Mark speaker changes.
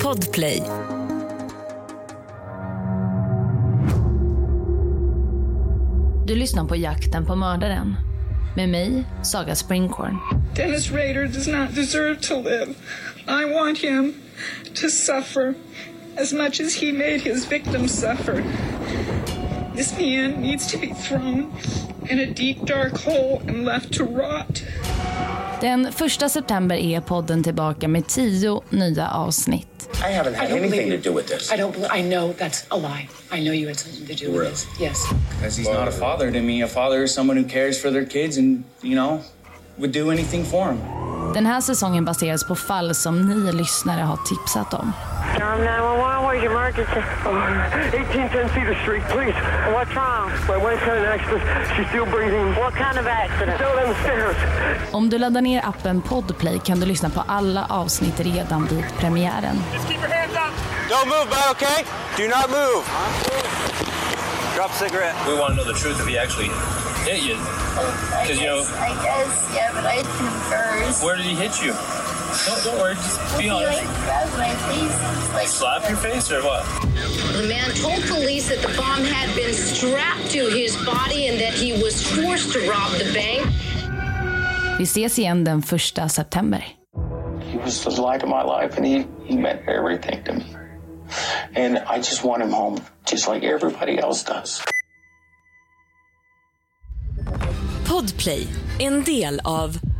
Speaker 1: Podplay.
Speaker 2: Du lyssnar på Jakten på mördaren med mig, Saga Springhorn.
Speaker 3: Dennis Rader does not deserve to live. I want him to suffer as much as he made his victims suffer. This man needs to be thrown in a deep, dark hole and left to rot.
Speaker 2: Den 1 september är podden tillbaka med tio nya avsnitt.
Speaker 4: I haven't had
Speaker 5: I don't
Speaker 4: anything to
Speaker 5: believe-
Speaker 4: do with this.
Speaker 5: I don't. bel- I know that's a lie. I know you had something to do with
Speaker 4: Really?
Speaker 5: this. Yes.
Speaker 6: Because he's not a father to me. A father is someone who cares for their kids and, you know, would do anything for them.
Speaker 2: Den här säsongen baseras på fall som ni lyssnare har tipsat om.
Speaker 7: Dom 911, where's your emergency? Uh, 1810 Cedar Street, please. What's wrong? My wife's had an accident. She's still breathing. What kind of accident? Down on the stairs.
Speaker 2: Om du laddar ner appen Podplay kan du lyssna på alla avsnitt redan vid premiären.
Speaker 7: Just keep your hands up.
Speaker 8: Don't move, bud, okay? Do not move. Drop cigarette.
Speaker 9: We want to know the truth if he actually hit you. Because, you know,
Speaker 10: I guess, yeah, but I confers.
Speaker 9: where did he hit you? Don't, don't worry, just be
Speaker 10: He
Speaker 9: honest.
Speaker 10: like grabbed my face and was like
Speaker 9: Slap your face or what?
Speaker 11: The man told police that the bomb had been strapped to his body and that he was forced to rob the bank.
Speaker 2: Vi ses igen den 1 september.
Speaker 4: He was the light of my life, and he, he meant everything to me. And I just want him home, just like everybody else does.
Speaker 1: Podplay, en del av